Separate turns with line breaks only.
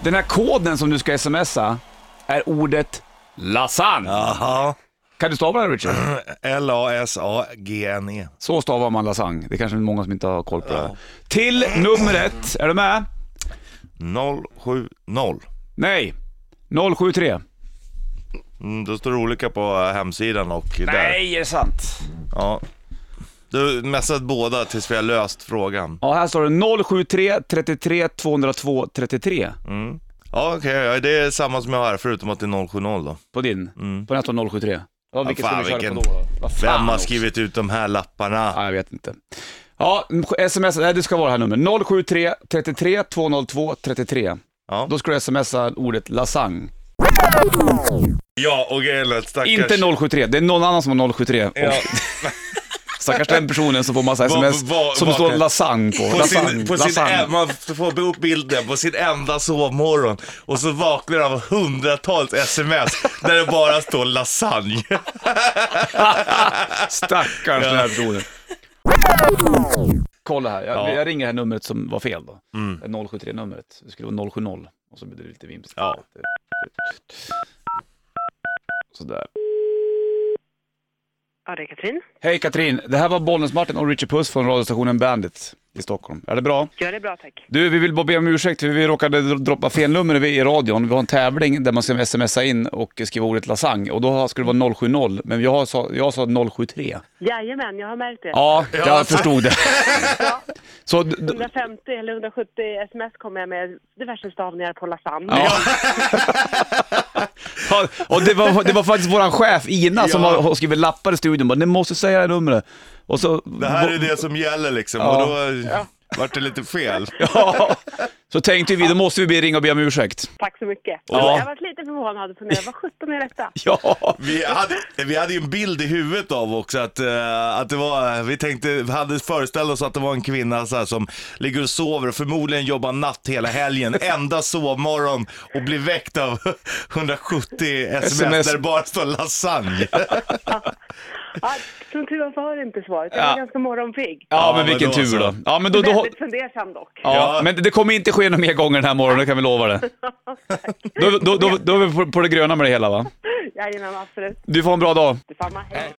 Den här koden som du ska smsa är ordet lasagne.
Aha.
Kan du stava det här, Richard?
L-A-S-A-G-N-E.
Så stavar man lasagne. Det är kanske många som inte har koll på det här. Till numret, är du med?
070.
Nej. 073.
Mm, då står det olika på eh, hemsidan och där.
Nej, är det sant?
Ja. Du messat båda tills vi har löst frågan.
Ja, här står det 073 33 202 33.
Ja, okej. ja, det är samma som jag har förutom att det är 070 då.
På din. På den här står 073. Mm. Ja, vilket
fan,
ska vi köra på
vilken-
då? då? Vad fan
Vem har
också?
skrivit ut de här lapparna?
Ja, jag vet inte. Ja, sms, nej det ska vara det här numret. 073 33 202 33.
Ja,
Då ska du smsa ordet lasagne.
ja och Gellert stackars...
Inte 073, det är någon annan som har 073.
Ja,
Stackars den personen som får massa
Vad-
sms
vad-
som det
vad-
står lasagne på.
på
lasagne,
sin, på sin,
lasagne.
ä- man får upp bilden på sin enda sovmorgon och så vaknar han av hundratals sms där det bara står lasagne.
Stackars den här personen. Kolla här, jag,
Ja. Mm.
jag ringer det här numret som var fel då. 073-numret. Det skulle vara 070 och så blir det lite vimsigt.
Ja.
Sådär.
Ja, det är Katrin.
Hej Katrin, det här var Bollnäs-Martin och Richie Puss från radiostationen Bandit i Stockholm. Är det bra?
Gör det bra, tack.
Du, vi vill bara be om ursäkt för vi råkade dro- droppa fel nummer vi- i radion. Vi har en tävling där man ska smsa in och skriva ordet lasagne och då har- skulle det vara 070, men jag sa, jag sa 073.
Jajamän, jag har märkt det.
Ja, jag
Ja.
förstod det. Så, d- d-
150 eller 170 sms kommer jag med diverse stavningar på lasagne.
ja. Ja, och det var, det var faktiskt vår chef Ina som
Ja.
har har skrivit lappar i studion bara, ni måste säga det här numret. Och så,
Det här är det som gäller liksom
Ja.
och då eh, vart det lite fel.
ja. så tänkte vi, då måste vi be- ringa och be om ursäkt.
Tack så mycket.
Ja.
Jag var lite förvånad och funderade, vad sjutton är detta?
Ja.
Vi hade, vi hade ju en bild i huvudet av också att, eh, att det var, vi tänkte, vi hade föreställt oss att det var en kvinna så här, som ligger och sover och förmodligen jobbar natt hela helgen, enda sovmorgon och blir väckt av 170 sms,
SMS.
där det bara står lasagne.
Ja, som tur var så har jag inte svaret. Jag var
Ja.
ganska morgonpigg.
Ja, men
men
vilken
då alltså.
tur
så.
då. Ja, men då, då,
Väldigt fundersam dock.
Ja,
Ja.
men det kommer inte ske några mer gånger den här morgonen, det kan vi lova det. Då, då, då, då är vi på, på det gröna med det hela va?
Jajamän, absolut.
Du får ha en bra dag.
Detsamma. Hej.